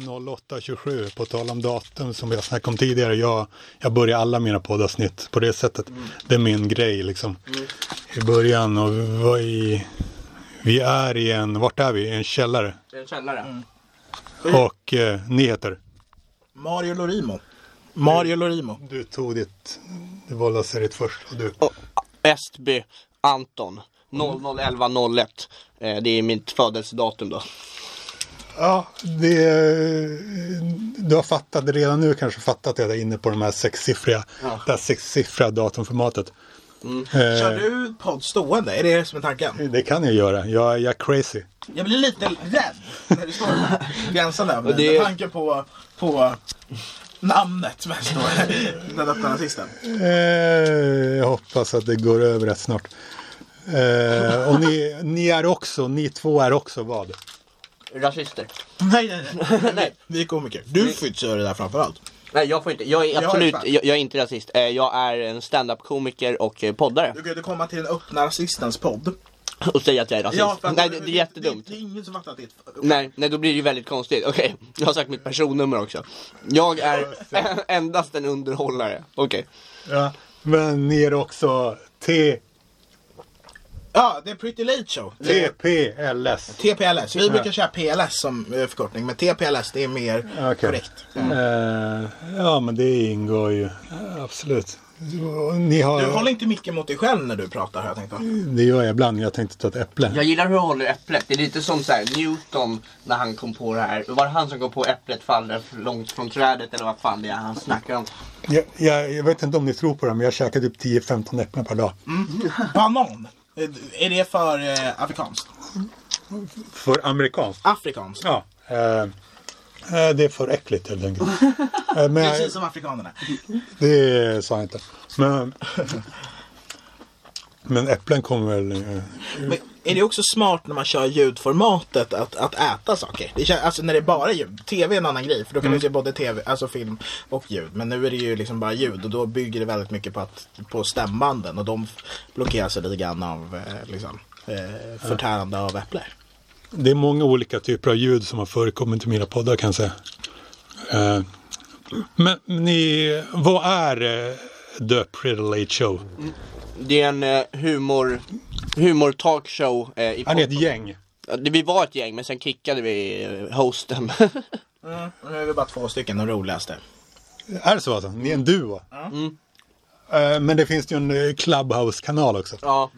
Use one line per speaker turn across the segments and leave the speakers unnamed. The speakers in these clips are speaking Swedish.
21.08.27, på tal om datum som jag snackade om tidigare. Jag, jag börjar alla mina poddavsnitt på det sättet. Det är min grej liksom. I början och vad i... Vi är i en, vart är vi? I En källare.
Det är en källare.
Och eh, nyheter.
Mario Lorimo. Mario Lorimo.
Du tog ditt, du valde seriet först och du.
Och ah, Estby Anton 001101. Eh, det är mitt födelsedatum då.
Ja, det, du har fattat det redan nu kanske fattat det där inne på de här sexsiffriga,
Ja.
det här sexsiffriga datumformatet. Eh,
Kör du podd stående? Är det det som är tanken?
Det kan jag göra, jag, jag är crazy.
Jag blir lite rädd när du står där. Gränsen där. Men
det-
Med tanke på, på namnet mest då. Den öppna nazisten.
Eh, jag hoppas att det går över rätt snart. Eh, och ni, ni är också, ni två är också vad?
Rasister.
Nej, nej, nej.
Nej.
Vi är komiker. Du får inte säga det där framförallt.
Nej jag får inte, jag är
är
absolut,
fan.
jag, jag är inte rasist. Eh, jag är en stand-up-komiker och eh, poddare.
Du kan ju inte komma till den öppna rasistens podd.
Och säga att jag är rasist.
för att-
Alltså, Nej det, det är jättedumt.
Det, det är ingen som fattar att det är ett...
Nej, nej då blir det ju väldigt konstigt. Okej, jag har sagt mitt personnummer också. Jag är endast en underhållare. Okej.
Ja. Men ni är också T,
Ja, det är Pretty Late Show.
TPLS.
TPLS. Vi brukar köra PLS som eh, förkortning, men TPLS det är mer
Okej.
korrekt.
Eh, ja men det ingår ju, absolut. Ni har,
Du håller inte mycket mot dig själv när du pratar har jag tänkt. va?
Det gör jag ibland, jag tänkte ta ett äpple.
Jag gillar hur jag håller äpplet. Det är lite som så här, Newton när han kom på det här. Var det han som kom på äpplet faller långt från trädet eller vad fan det är han snackar om?
Jag, jag, jag vet inte om ni tror på det men jag käkar typ 10-15 äpplen per dag.
Banan. Eh, Är det för eh, afrikanskt?
För amerikanskt?
Afrikanskt.
Ja. Eh, eh, det är för äckligt helt enkelt. Eh, men jag,
Precis som afrikanerna.
det sa jag inte. Men, men äpplen kommer väl... eh,
Men är det också smart när man kör ljudformatet att, att äta saker? Det känns, alltså när det är bara ljud. TV är en annan grej för då kan du se både TV, alltså film och ljud. Men nu är det ju liksom bara ljud och då bygger det väldigt mycket på, att, på stämbanden och de blockeras lite grann av eh, liksom, eh, förtärande av äpplor.
Det är många olika typer av ljud som har förekommit i mina poddar kan jag säga. Eh, men ni, vad är eh, The Pretty Late Show?
Det är en eh, humor, humor talkshow eh, i
Är ni ett gäng?
Ja, det- Vi var ett gäng men sen kickade vi eh, hosten.
Mm, nu är vi bara två stycken, de roligaste.
Är det så alltså? Ni är en duo? Eh, Men det finns ju en eh, Clubhouse-kanal också.
ja.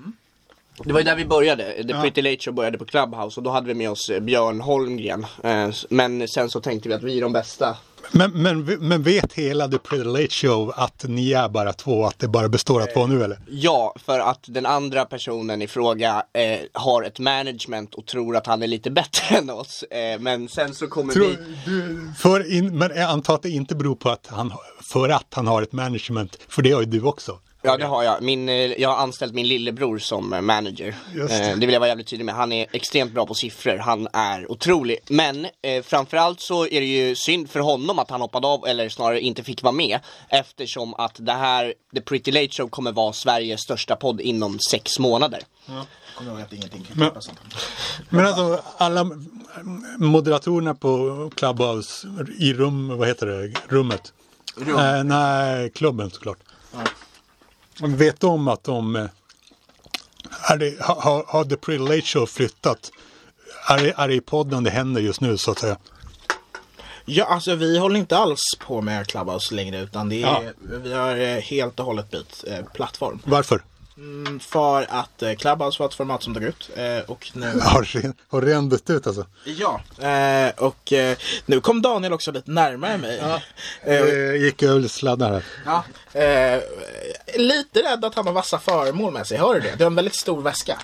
Det var ju där vi började. The
Ja.
Pretty Late Show började på Clubhouse och då hade vi med oss eh, Björn Holmgren. Eh, s- Men sen så tänkte vi att vi är de bästa.
Men, men, men vet hela The Pretty Late Show att ni är bara två, att det bara består av två nu eller?
Ja, för att den andra personen i fråga eh, har ett management och tror att han är lite bättre än oss. Eh, men sen så kommer
Tror,
vi...
du, för in, men jag antar att det inte beror på att han, för att han har ett management, för det har ju du också.
Ja det har jag. Min, eh, jag har anställt min lillebror som eh, manager.
Just det.
Eh, det vill jag vara jävligt tydlig med. Han är extremt bra på siffror. Han är otrolig. Men eh, framförallt så är det ju synd för honom att han hoppade av, eller snarare inte fick vara med. Eftersom att det här, The Pretty Late Show, kommer vara Sveriges största podd inom sex månader.
Kommer ihåg att ingenting kan
Men-
klippas sånt.
Men alltså alla moderatorerna på Clubhouse i rum, vad heter det, rummet? Eh, nej, klubben såklart. Vet de om att de... eh, Är det, har, har- har The Pretty Late Show flyttat? Är det, är det i podden det händer just nu så att säga?
Ja, alltså vi håller inte alls på med Clubhouse längre utan det är, vi har eh, helt och hållet bytt eh, plattform.
Varför?
Mm, För att eh, Clubhouse var ett format som dog ut eh, och nu...
Har, ren- har ren dött ut alltså?
Ja, eh, och eh, nu kom Daniel också lite närmare mig. Eh,
Eh, gick öl sladdar här.
ja, eh, lite rädd att han har vassa föremål med sig, hör du det? Det är en väldigt stor väska.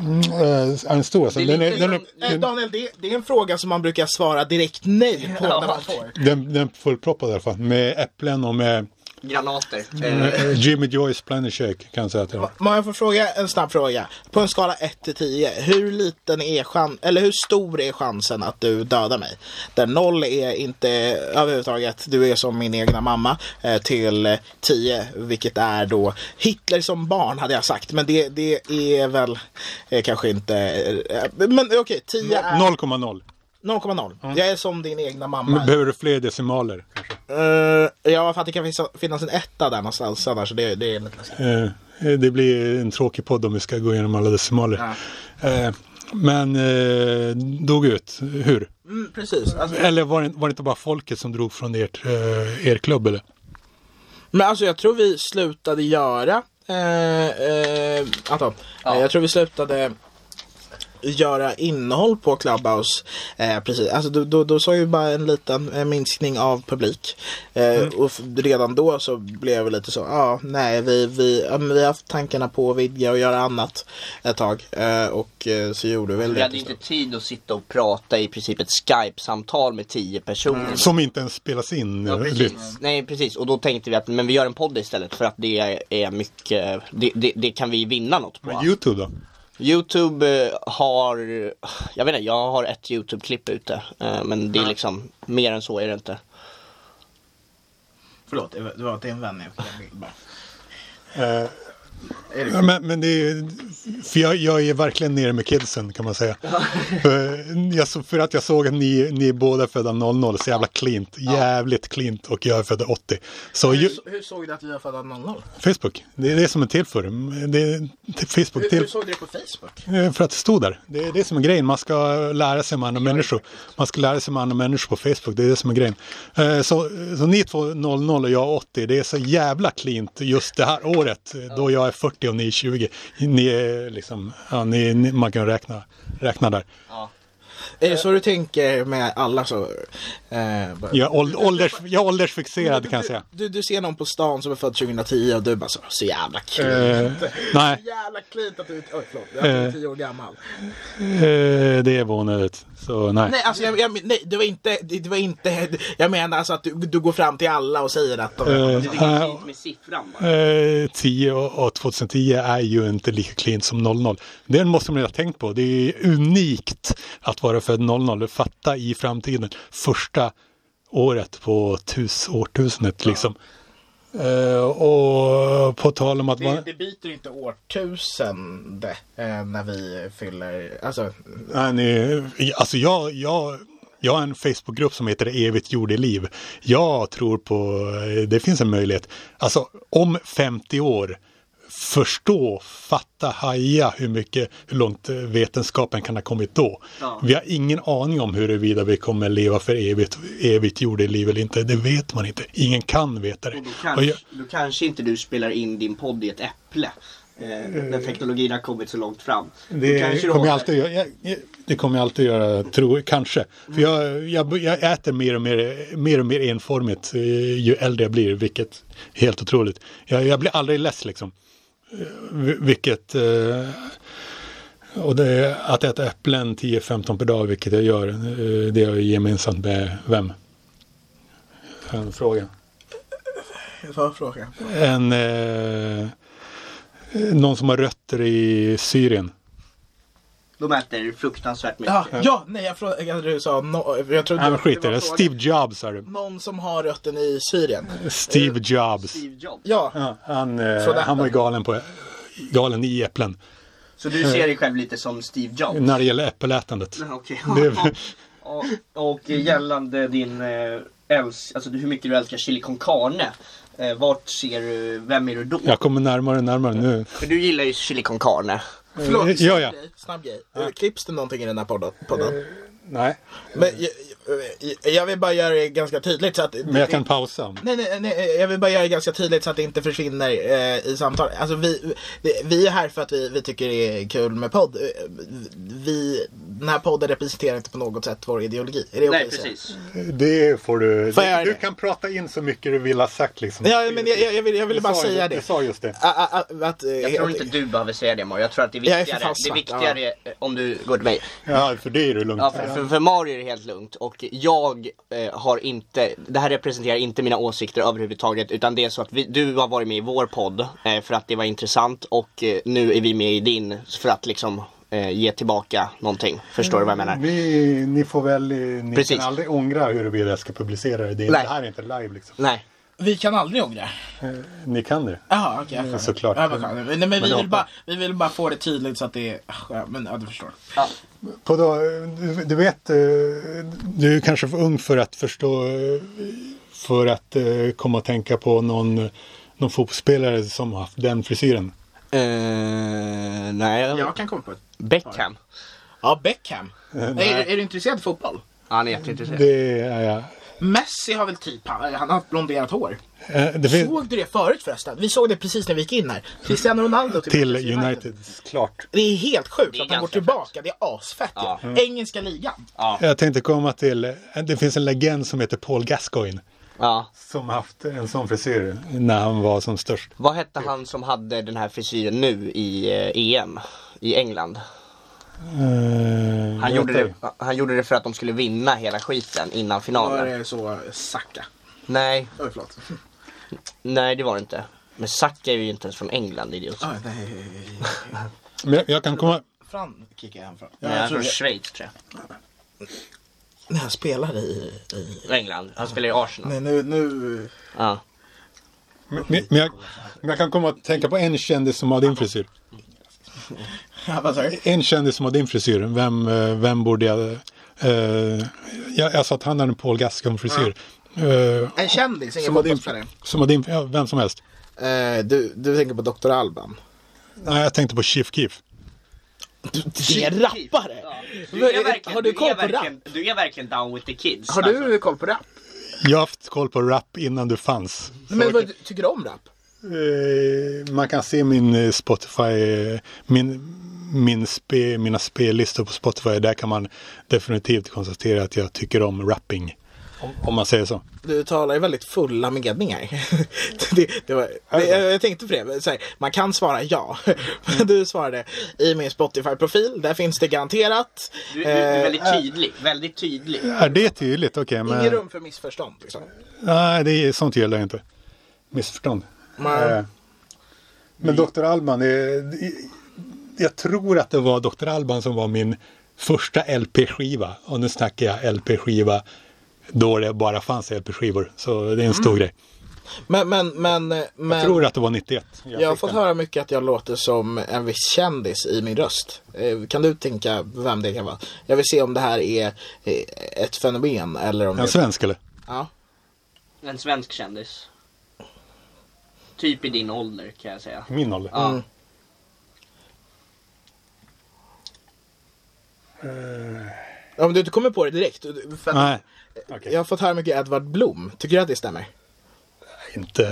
Eh, är den stor alltså?
Det är
Den, är,
lite
den, är,
som-
Eh, Daniel, det, det är en fråga som man brukar svara direkt nej på när man får.
den, den är fullproppad i alla fall. Med äpplen och med
Granater. Eh,
eh, Jimmy Joyce Planet Shake kan jag säga att det var.
Om jag får fråga en snabb fråga. På en skala 1 till 10, hur liten är chan- eller hur stor är chansen att du dödar mig? Där 0 är inte överhuvudtaget, du är som min egna mamma, eh, till eh, 10, vilket är då Hitler som barn hade jag sagt, men det, det är väl eh, kanske inte, eh, men okej, 10 är...
0,0.
0,0. Jag är som din egna mamma.
Men behöver du fler decimaler? Kanske?
Eh, ja, för att det kan finnas, finnas en etta där någonstans annars. Det, det är lite läskigt.
Eh, det blir en tråkig podd om vi ska gå igenom alla decimaler. Eh, men eh, dog ut, hur?
Mm, precis. Alltså,
Eller var det, var det inte bara folket som drog från ert, eh, er klubb? Eller?
Men alltså jag tror vi slutade göra, eh, eh, Anton, eh, jag tror vi slutade göra innehåll på Clubhouse. Eh, precis. Alltså, då, då, då såg vi bara en liten eh, minskning av publik. Eh, Och f- redan då så blev det lite så, ja nej vi, vi, ja, men vi har haft tankarna på att vidga och göra annat ett tag. Eh, och eh, så gjorde vi väl
Vi
det.
hade
till
ju inte
slut.
tid att sitta och prata i princip ett Skype-samtal med tio personer.
Som inte ens spelas in.
Ja,
eh,
precis. Nej precis, och då tänkte vi att men vi gör en podd istället för att det är mycket, det, det, det kan vi vinna något på.
Youtube då?
Youtube eh, har, jag vet inte, jag har ett Youtube-klipp ute. eh, Men det är liksom, mer än så är det inte.
Förlåt, det var- det var till en vän. jag fick en bild bara.
Eh,
Är det-
Ja, men, men det är, för jag, jag är verkligen nere med kidsen kan man säga. för, jag, så- för att jag såg att ni, ni är båda födda 00, så jävla klint. Jävligt klint och jag är född 80. Så ju,
Hur, hur såg du att vi var födda 00?
Facebook, det är det som är till för. Det är till Facebook
Hur, hur
till
såg du det på Facebook?
eh, för att det stod där. Det är det som är grejen, man ska lära sig om andra människor. Man ska lära sig om andra människor på Facebook, det är det som är grejen. Eh, Så, så ni två 00 och jag 80, det är så jävla klint just det här året eh, då jag är 40 och ni är 20. Ni är liksom, ja, ni, ni, man kan räkna, räkna där.
Är det Eh, så du tänker med alla så? Eh, bara,
Jag är, åld- ålders, jag är åldersfixerad kan jag säga.
Du, du ser någon på stan som är född 2010 och du bara så, så jävla kul.
Eh, nej,
Så jävla klint att du, oj förlåt, att du är
Eh.
tio år gammal.
eh, det var onödigt. Så nej.
Nej, alltså jag, jag, nej, det var inte, det, det var inte, jag menar alltså att du, du går fram till alla och säger att de
Eh, nej.
med siffran
Eh, 10 och och 2010 är ju inte lika klint som 00. Det måste man ju ha tänkt på. Det är ju unikt att vara född 00. Fatta i framtiden. Första året på tus, årtusendet liksom. Eh, och på tal om att
det,
man...
det byter inte årtusende eh, när vi fyller, alltså
Nej, nej, alltså jag, jag, jag har en Facebookgrupp som heter Evigt jordeliv. Jag tror på, eh, det finns en möjlighet, alltså om 50 år förstå, fatta, haja hur mycket, hur långt eh, vetenskapen kan ha kommit då.
Ja.
Vi har ingen aning om huruvida vi kommer leva för evigt, evigt jordeliv eller inte. Det vet man inte. Ingen kan veta det.
Och då
Och
kanske,
jag,
då kanske inte du spelar in din podd i ett äpple. Eh, när teknologin har kommit så långt fram. Då
Det
kanske du
kommer jag
har-
alltid göra, jag, jag- det kommer jag alltid göra, tror kanske. För jag, jag, jag äter mer och mer, mer och mer enformigt eh, ju äldre jag blir, vilket är helt otroligt. Jag, jag blir aldrig less liksom. Eh, vi- Vilket, eh, och det är att äta äpplen 10-15 per dag, vilket jag gör, eh, det är jag gemensamt med vem? En fråga.
vad frågan?
En, eh, någon som har rötter i Syrien.
De äter fruktansvärt mycket.
Ja, ja, nej jag frågade, du sa, no, jag trodde
Han
det
skiter i
var
det.
frågan.
Steve Jobs är det.
Någon som har rötten i Syrien?
Steve Jobs.
Steve Jobs.
Ja,
Ja, han, eh,
Från äpplen.
han var ju galen, på, galen i äpplen
Så du ser dig själv lite som Steve Jobs?
när det gäller äppelätandet.
Men Okej.
Det-
och, och gällande din eh, älsk, alltså hur mycket du älskar chili con carne. Eh, vart ser du, vem är du då?
Jag kommer närmare och närmare nu.
För du gillar ju chili con carne.
Eh,
Förlåt,
ja, ja.
snabb grej, snabb grej. Eh, Klipps det någonting i den här podden? podden?
Nej,
Men jag, jag- jag vill bara göra det ganska tydligt så att...
men jag kan pausa.
Nej, nej, nej, jag vill bara göra det ganska tydligt så att det inte försvinner eh, i samtalet. Alltså vi, vi- vi är här för att vi, vi tycker det är kul med podd. Eh, Vi, den här podden representerar inte på något sätt vår ideologi. Är det okej
Nej
att säga?
precis.
Det får du.
Får jag göra
du
det?
kan prata in så mycket du vill ha sagt liksom.
Ja, men jag, jag, jag, vill, jag ville
Du
bara
sa ju-
säga
Du
det.
sa just det.
Ah, ah, ah, att, eh,
Jag tror inte du behöver säga det Mario. Jag tror att det är
Jag är
viktigare,
för fan
det är viktigare
svart,
eh, om du går till mig.
Ja, för det är det lugnt.
Ja, för, för, för Mario är det helt lugnt och jag eh, har inte, det här representerar inte mina åsikter överhuvudtaget utan det är så att vi, du har varit med i vår podd eh, för att det var intressant och eh, nu är vi med i din för att liksom eh, ge tillbaka någonting. Förstår du vad jag menar?
Vi, ni får väl, eh, ni
Precis.
kan aldrig ångra huruvida jag ska publicera det. Det, är-
Nej.
det här är inte live liksom.
Nej.
Vi kan aldrig ångra.
Ni kan det.
Jaha, okej. Okay,
Mm, såklart.
Ja, vad skönt. Nej, men vi,
det
vill
hoppas-
bara, vi vill bara få det tydligt så att det är... ah, Ja, men, ja, du förstår.
På då, du, du vet, eh, du är kanske för ung för att förstå, eh, för att eh, komma att tänka på någon, någon fotbollsspelare som har haft den frisyren.
Eh, nej,
Jag kan komma på ett.
Beckham.
Ja, Beckham. Är, är du intresserad av fotboll?
Han är jätteintresserad.
Det är jag.
Messi har väl typ, han, han har blonderat hår.
Eh, Det finns
Såg du det förut förresten? Vi såg det precis när vi gick in här. Cristiano Ronaldo
till United. Klart.
Det är helt sjukt
Det är
att han går
ganska
tillbaka. Det är asfett
Ja.
ju. Mm. Engelska ligan.
Jag tänkte komma till, eh, det finns en legend som heter Paul Gascoigne.
Ja.
Som haft en sån frisyr när han var som störst.
Vad hette han som hade den här frisyren nu i eh, EM? I England.
Eh,
Han gjorde,
okej.
det, han gjorde det för att de skulle vinna hela skiten innan
Var
finalen.
det så Saka?
Nej,
Oj, förlåt.
nej det var det inte. Men Saka är ju inte ens från England, idiot.
Oj, nej.
Men jag, jag kan komma...
Frankrike är han från.
Nej, han är
tror
från
det.
Schweiz tror
När han spelade i... i...
jag. England. Han spelar i Arsenal.
Nej, nu... nu...
Ja.
Men, men, jag, men jag kan komma att tänka på en kändis som har din frisyr.
Ja, vad sa du?
En kändis som har din frisyr, vem, eh, vem borde jag... eh, jag, jag sa att han har en Paul Gascon-frisyr. Eh,
En kändis, ingen
som, har din,
fotbollsspelare.
som har din... Ja, vem som helst.
Eh, du, du tänker på Dr. Alban?
Nej, jag tänkte på Chief Keef.
Det är rappare! har du koll på rap?
du är verkligen down with the kids. alltså.
Har du koll på rap?
Jag har haft koll på rap innan du fanns.
Men vad tycker du om rap?
Eh, man kan se min eh, Spotify, eh, min, min spe, mina spellistor på Spotify. Där kan man definitivt konstatera att jag tycker om rapping. Om, om man säger så.
Du talar i väldigt fulla meningar. Det, det var, det, jag, jag tänkte på det. Så här, man kan svara ja. Men du svarade i min Spotify-profil. Där finns det garanterat. Eh,
tydlig. Väldigt tydlig.
Är det tydligt? Okej,
Ingen
men...
rum för missförstånd. Liksom.
Nej, det är, sånt gillar jag inte. Missförstånd.
Nej.
Eh, Men Dr. Alban, eh, jag tror att det var Dr. Alban som var min första LP-skiva. Och nu snackar jag LP-skiva då det bara fanns LP-skivor. Så det är en stor grej.
Men, men, men, men
Jag tror att det var 91.
jag, har fått höra mycket att jag låter som en viss kändis i min röst. Eh, Kan du tänka vem det kan vara? Jag vill se om det här är eh, ett fenomen eller om
En
det...
svensk eller?
Ja.
En svensk kändis. Typ i din ålder kan jag säga.
Min ålder?
Ja.
Mm. Eh. Ja, men du inte kommer på det direkt. Du- För att
Nej,
Jag har fått höra mycket Edvard Blom. Tycker du att det stämmer?
inte,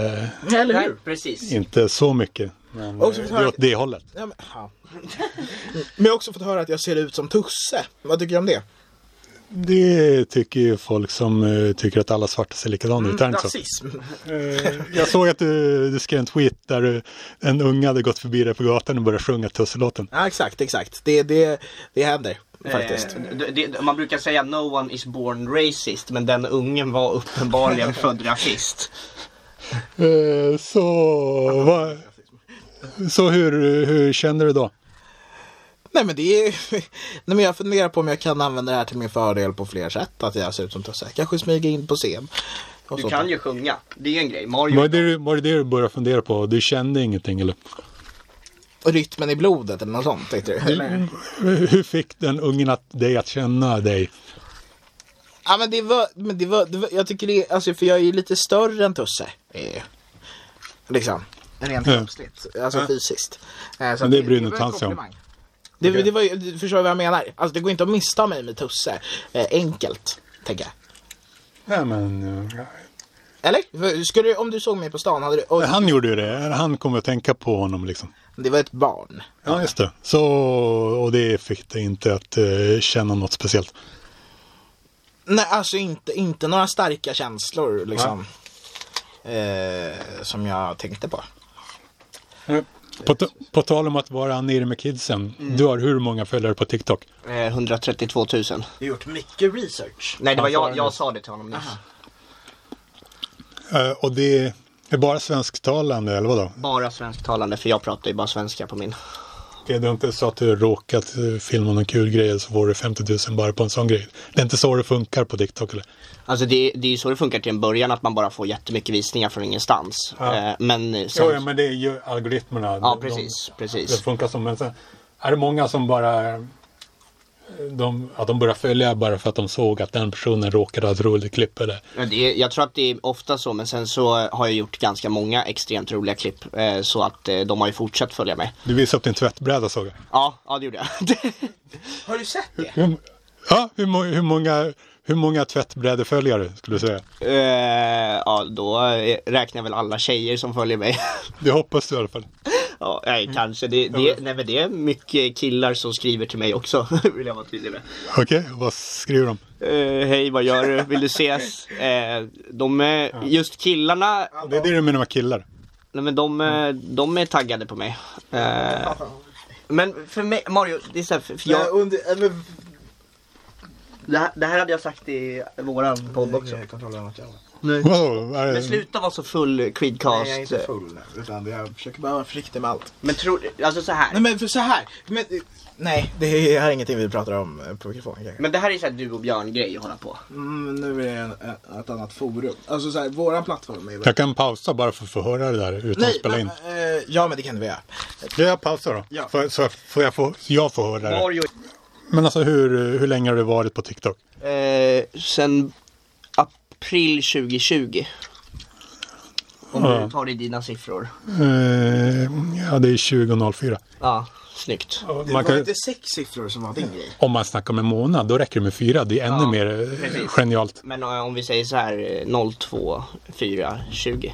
Eller
Nej, precis.
inte så mycket. Men
Och så
eh,
tar-
det är åt det hållet.
Ja, men, ja. men jag har också fått höra att jag ser ut som Tusse. Vad tycker du om det?
Det tycker ju folk som eh, tycker att alla svarta ser likadana ut. är det inte så?
Rasism.
Eh, Jag såg att du, du skrev en tweet där du, en unge hade gått förbi dig på gatan och börjat sjunga Tusselåten.
Ja, exakt, exakt. Det, det, det händer faktiskt.
Eh, det- det- man brukar säga no one is born racist men den ungen var uppenbarligen född rasist.
Eh, Så, vad- så hur, hur känner du då?
Nej, men det är... Nej, men jag funderar på om jag kan använda det här till min fördel på fler sätt. Att jag ser ut som Tusse. Kanske smyga in på scen. Och
Du
sånt.
kan ju sjunga, det är en grej. Mario
Var det du- var det det du började fundera på? Du kände ingenting eller?
Och rytmen i blodet eller något sånt, tänkte du? Mm. Eller?
Hur fick den ungen att, dig att känna dig?
Ja men det var, men det var, det var jag tycker det, alltså för jag är ju lite större än Tusse. Eh, liksom. Rent
Mm.
kroppsligt, alltså fysiskt. Eh, så
Men
att
det bryr
var
inte
en
han sig om.
komplimang. Det, det var ju, du förstår vad jag menar? Alltså det går inte att missta mig med Tusse. Eh, enkelt, tänker jag.
Nej, men, eh,
Eller? För- Skulle du, om du såg mig på stan, hade du... Och,
han gjorde ju det. Han kom att tänka på honom liksom.
det var ett barn.
Ja, just det. Så, och det fick dig inte att eh, känna något speciellt.
Nej, alltså inte, inte några starka känslor liksom. Eh, som jag tänkte på.
På, ta- på tal om att vara nere med kidsen. Du har hur många följare på TikTok?
Eh, 132 000.
Du har gjort mycket research.
Nej det var jag, jag sa det till honom nyss.
Eh, och det är bara svensktalande eller vadå?
Bara svensktalande för jag pratar ju bara svenska på min.
Är det inte så att du råkat eh, filma någon kul grej så får du 50 000 bara på en sån grej? Det är inte så det funkar på TikTok eller?
Alltså det, det är ju så det funkar till en början, att man bara får jättemycket visningar från ingenstans.
Ja.
Eh, men sen...
Jo, ja, men det är ju algoritmerna.
Ja,
De-
precis,
De,
precis.
det funkar som, men sen är det många som bara... eh, De, att de börjar följa bara för att de såg att den personen råkade ha ett roligt klipp eller?
Ja, Det är, jag tror att det är ofta så, men sen så har jag gjort ganska många extremt roliga klipp. Eh, så att eh, de har ju fortsatt följa mig.
Du visade upp din tvättbräda såg jag.
Ja, ja det gjorde jag.
Har du sett det?
Hur, ja, hur, må- hur många, hur många tvättbrädeföljare skulle du säga?
eh, ja, då eh, räknar jag väl alla tjejer som följer mig.
Det hoppas du i alla fall.
Mm. ja, nej, kanske. Det, det, nej, men det är mycket killar som skriver till mig också, vill jag vara tydlig med.
Okej, vad skriver de?
Eh, Hej, vad gör du? Vill du ses? Eh, de, är- just killarna,
Det är det du menar med killar.
nej, men de, eh, de är taggade på mig. Eh, men för mig, Mario, det är så här, för, för jag...
Jag under... äh, men-
Det här, det här hade jag sagt i våran podd också.
Jag kontrollerar något jävla.
Wow, är
Men
det,
sluta vara så full
Nej, jag är
Creedcast.
inte full nu. Utan jag försöker bara vara försiktig med allt.
Men tro, alltså så
Nej
här.
men för så här. Men, eh, nej, det här är ingenting vi pratar om eh, på mikrofonen kanske.
Men det här är så här du och Björn grej att hålla på.
Mm, nu är det en, en, ett annat forum. Alltså så här, våran plattform är...
jag kan pausa bara för att få höra det där utan att spela in.
men, eh, ja men det kan vi göra.
Ja, jag pausar då.
Ja.
Får, så får jag, få, jag får höra det.
Mario.
Men alltså hur, hur länge har du varit på TikTok?
Eh, sen april 2020. Om du tar det i dina siffror.
Eh, ja, det är 2004.
Ja, snyggt.
Det
Man
var
kan,
inte sex siffror som var din grej.
om man snackar om en månad, då räcker det med fyra. Det är ännu
Ja,
mer eh,
precis.
genialt.
Men eh, om vi säger så här eh, 02420.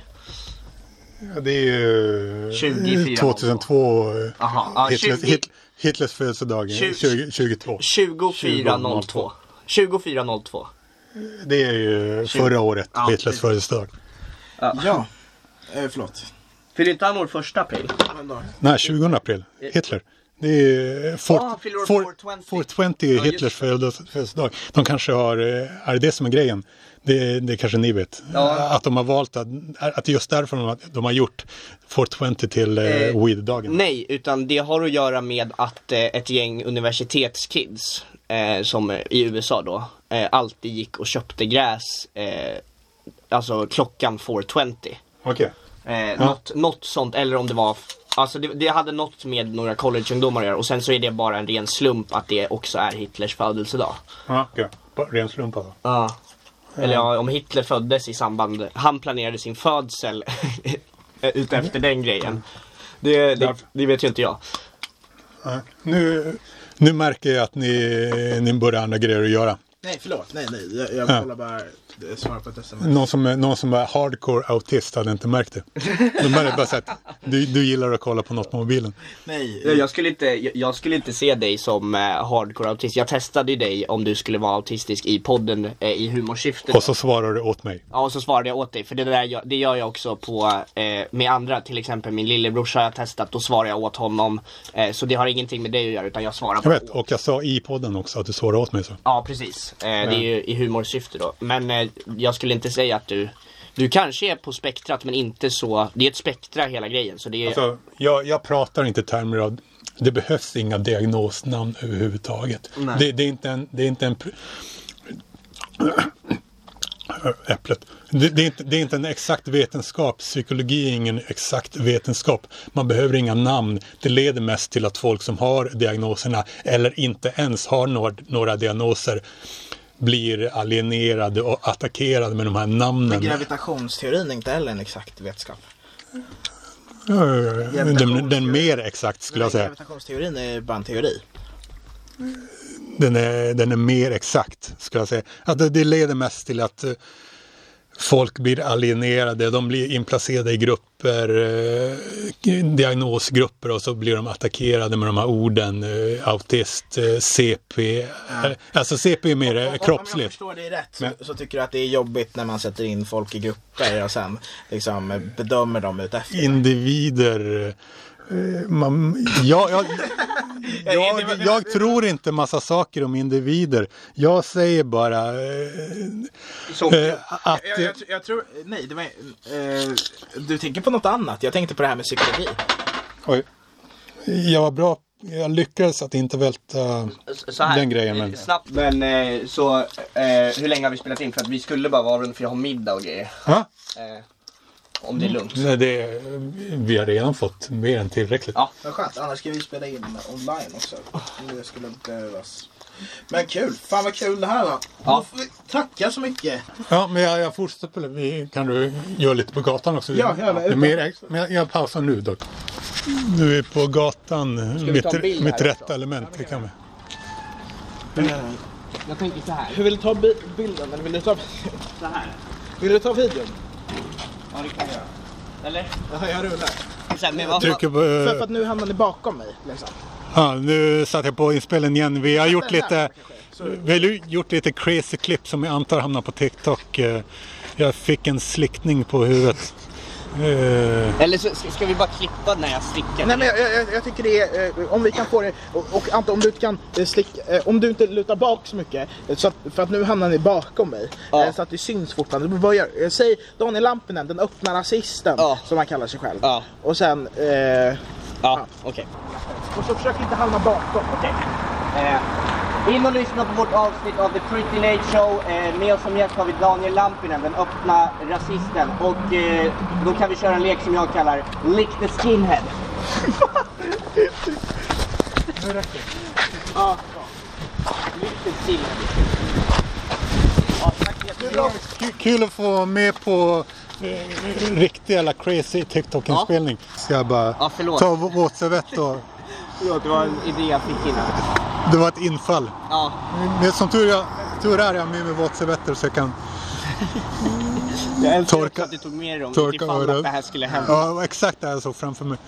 Ja, det är ju Eh,
24.
2002. eh,
Jaha, ja,
Hitlers,
20.
Hit- Hitlers födelsedag eh,
20.
20, 22.
2402. 2402.
Det är ju förra året,
Ja,
Hitlers
precis.
födelsedag.
Ja. Eh, förlåt.
Fyller inte han år första april?
Men då.
Nej, 20 april. Hitler. Det är
Ja, han fyller år 420.
420 är Hitlers födels- födelsedag. De kanske har, eh, är det det som är grejen? Det, det kanske ni vet. Att de har valt att, att det är just därför de har, de har gjort 420 till eh,
Eh,
weed-dagen.
Nej, utan det har att göra med att eh, ett gäng universitetskids eh, som eh, i USA då eh, alltid gick och köpte gräs eh, alltså klockan 420.
Okej.
Eh, något, något sånt, eller om det var Alltså det, det hade något med några collegeungdomar att göra och sen så är det bara en ren slump att det också är Hitlers födelsedag.
Ja, okej. Bara Ren slump alltså.
Ja. Eller ja, om Hitler föddes i samband, han planerade sin födsel eh, utefter
Mm.
den grejen. Det, det, det vet ju inte jag.
Nej. Nu, nu märker jag att ni, ni börjar ha andra grejer att göra.
Nej förlåt, nej nej. Jag, jag
Ja. Mm.
kollar bara eh, svar på ett sms.
Någon som, är, någon som är hardcore autist hade inte märkt det. De hade bara sett, du, du gillar att kolla på något på mobilen.
Nej.
Jag- Jag skulle inte, jag, jag skulle inte se dig som eh, hardcore autist. Jag testade ju dig om du skulle vara autistisk i podden eh, i humorsyfte.
Och så svarar du åt mig.
Ja, och så svarade jag åt dig. För det där jag, det gör jag också på, eh, med andra. Till exempel min lillebrorsa har jag testat. Då svarar jag åt honom. Eh, så det har ingenting med dig att göra utan jag svarar
Jag
bara
vet, och jag sa i podden också att du svarar åt mig så.
Ja, precis. Eh, det är ju i humorsyfte då. Men eh, jag skulle inte säga att du du kanske är på spektrat men inte så, det är ett spektra hela grejen så det är,
Alltså, jag, jag pratar inte i termer av, det behövs inga diagnosnamn överhuvudtaget.
Nej.
Det, det är inte en... Det är inte en pr- Äpplet. Det, det, är inte, det är inte en exakt vetenskap. Psykologi är ingen exakt vetenskap. Man behöver inga namn. Det leder mest till att folk som har diagnoserna eller inte ens har några, några diagnoser blir alienerade och attackerade med de här namnen.
Gravitationsteorin är inte heller en exakt vetskap.
Ja, ja, ja. Den, den mer exakt skulle jag säga. Eh,
Gravitationsteorin är bara en teori.
Den är, den är mer exakt, skulle jag säga. Att det, det leder mest till att eh, folk blir alienerade, de blir inplacerade i grupper, eh, diagnosgrupper och så blir de attackerade med de här orden, eh, autist, eh, CP. Eh, Alltså CP är mer eh,
Om jag
kroppsligt.
förstår dig rätt så, så tycker du att det är jobbigt när man sätter in folk i grupper och sen liksom eh, bedömer dem utefter.
Individer. eh, Man, jag, jag, jag, jag tror inte massa saker om individer. Jag säger bara eh,
så,
eh, att...
Jag, jag, tr- jag tror, nej det var, eh, du tänker på något annat. Jag tänkte på det här med psykologi.
Oj. Jag var bra jag lyckades att inte välta
Så här,
den grejen. Men...
snabbt. Men eh, så, eh, hur länge har vi spelat in? För att vi skulle bara avrunda för jag har middag och grejer.
Ja,
Eh, om det är lugnt.
nej, det, vi har redan fått mer än tillräckligt.
Ja.
Vad skönt, annars ska vi spela in online också. Om det skulle behövas. Men kul, fan vad kul det här var.
Ja.
Då får vi Tacka så mycket.
Ja, men jag, jag fortsätter. på det. Vi, kan du göra lite på gatan också?
Ja, gärna.
Det är mer, men jag, jag pausar nu dock. Nu är vi på gatan.
vi ta en
Mitt,
bild
mitt
här
rätta
också?
element. Det kan vi.
Mm. Jag tänker så här.
Hur vill du ta bilden? Eller vill du ta...
Så här.
Vill du ta videon?
Ja, det kan jag göra. Eller?
Jaha, jag rullar.
Så här, men vad,
Trycker på,
För
eh,
att nu hamnar ni bakom mig. Liksom.
ja, nu satte jag på inspelningen igen. Vi har gjort
Den där,
lite,
kanske. Så-
vi har ju gjort lite crazy klipp som jag antar hamnar på TikTok. Eh, Jag fick en slickning på huvudet. Eh,
eller så ska, ska vi bara klippa när jag stickar?
Nej men jag, jag- jag, jag tycker det är, eh, om vi kan få det, och, och Ante om du kan eh, slicka, eh, om du inte lutar bak så mycket, eh, så att, för att nu hamnar ni bakom mig,
Ja.
eh, så att det syns fortfarande. Men Vad gör, eh, säg Daniel Lampinen, den öppna rasisten,
Ja.
som han kallar sig själv.
Ja.
Och sen, eh,
Ja, okej.
och så försök inte hamna bakom.
Okej. Eh, in och lyssna på vårt avsnitt av The Pretty Late Show. Eh, med oss som gäst har vi Daniel Lampinen, den öppna rasisten. Och eh, då kan vi köra en lek som jag kallar Lick the Skinhead. Ja, bra. Lick the skinhead. Ja, tack så jättemycket.
Kul- Kul att få vara med på eh, riktig jävla crazy TikTok-inspelning. Ska jag bara
Ja, förlåt.
ta vå- våtservett och...
Förlåt, det var en idé jag fick innan.
Det var ett infall.
Ja,
Men som tur, jag, tur är jag med mig våtservetter så jag kan...
jag älskar
Torka-
också att du tog med dig dem
torka
ifall
öronen.
att det här skulle hända.
Ja, det var exakt det här jag såg framför mig.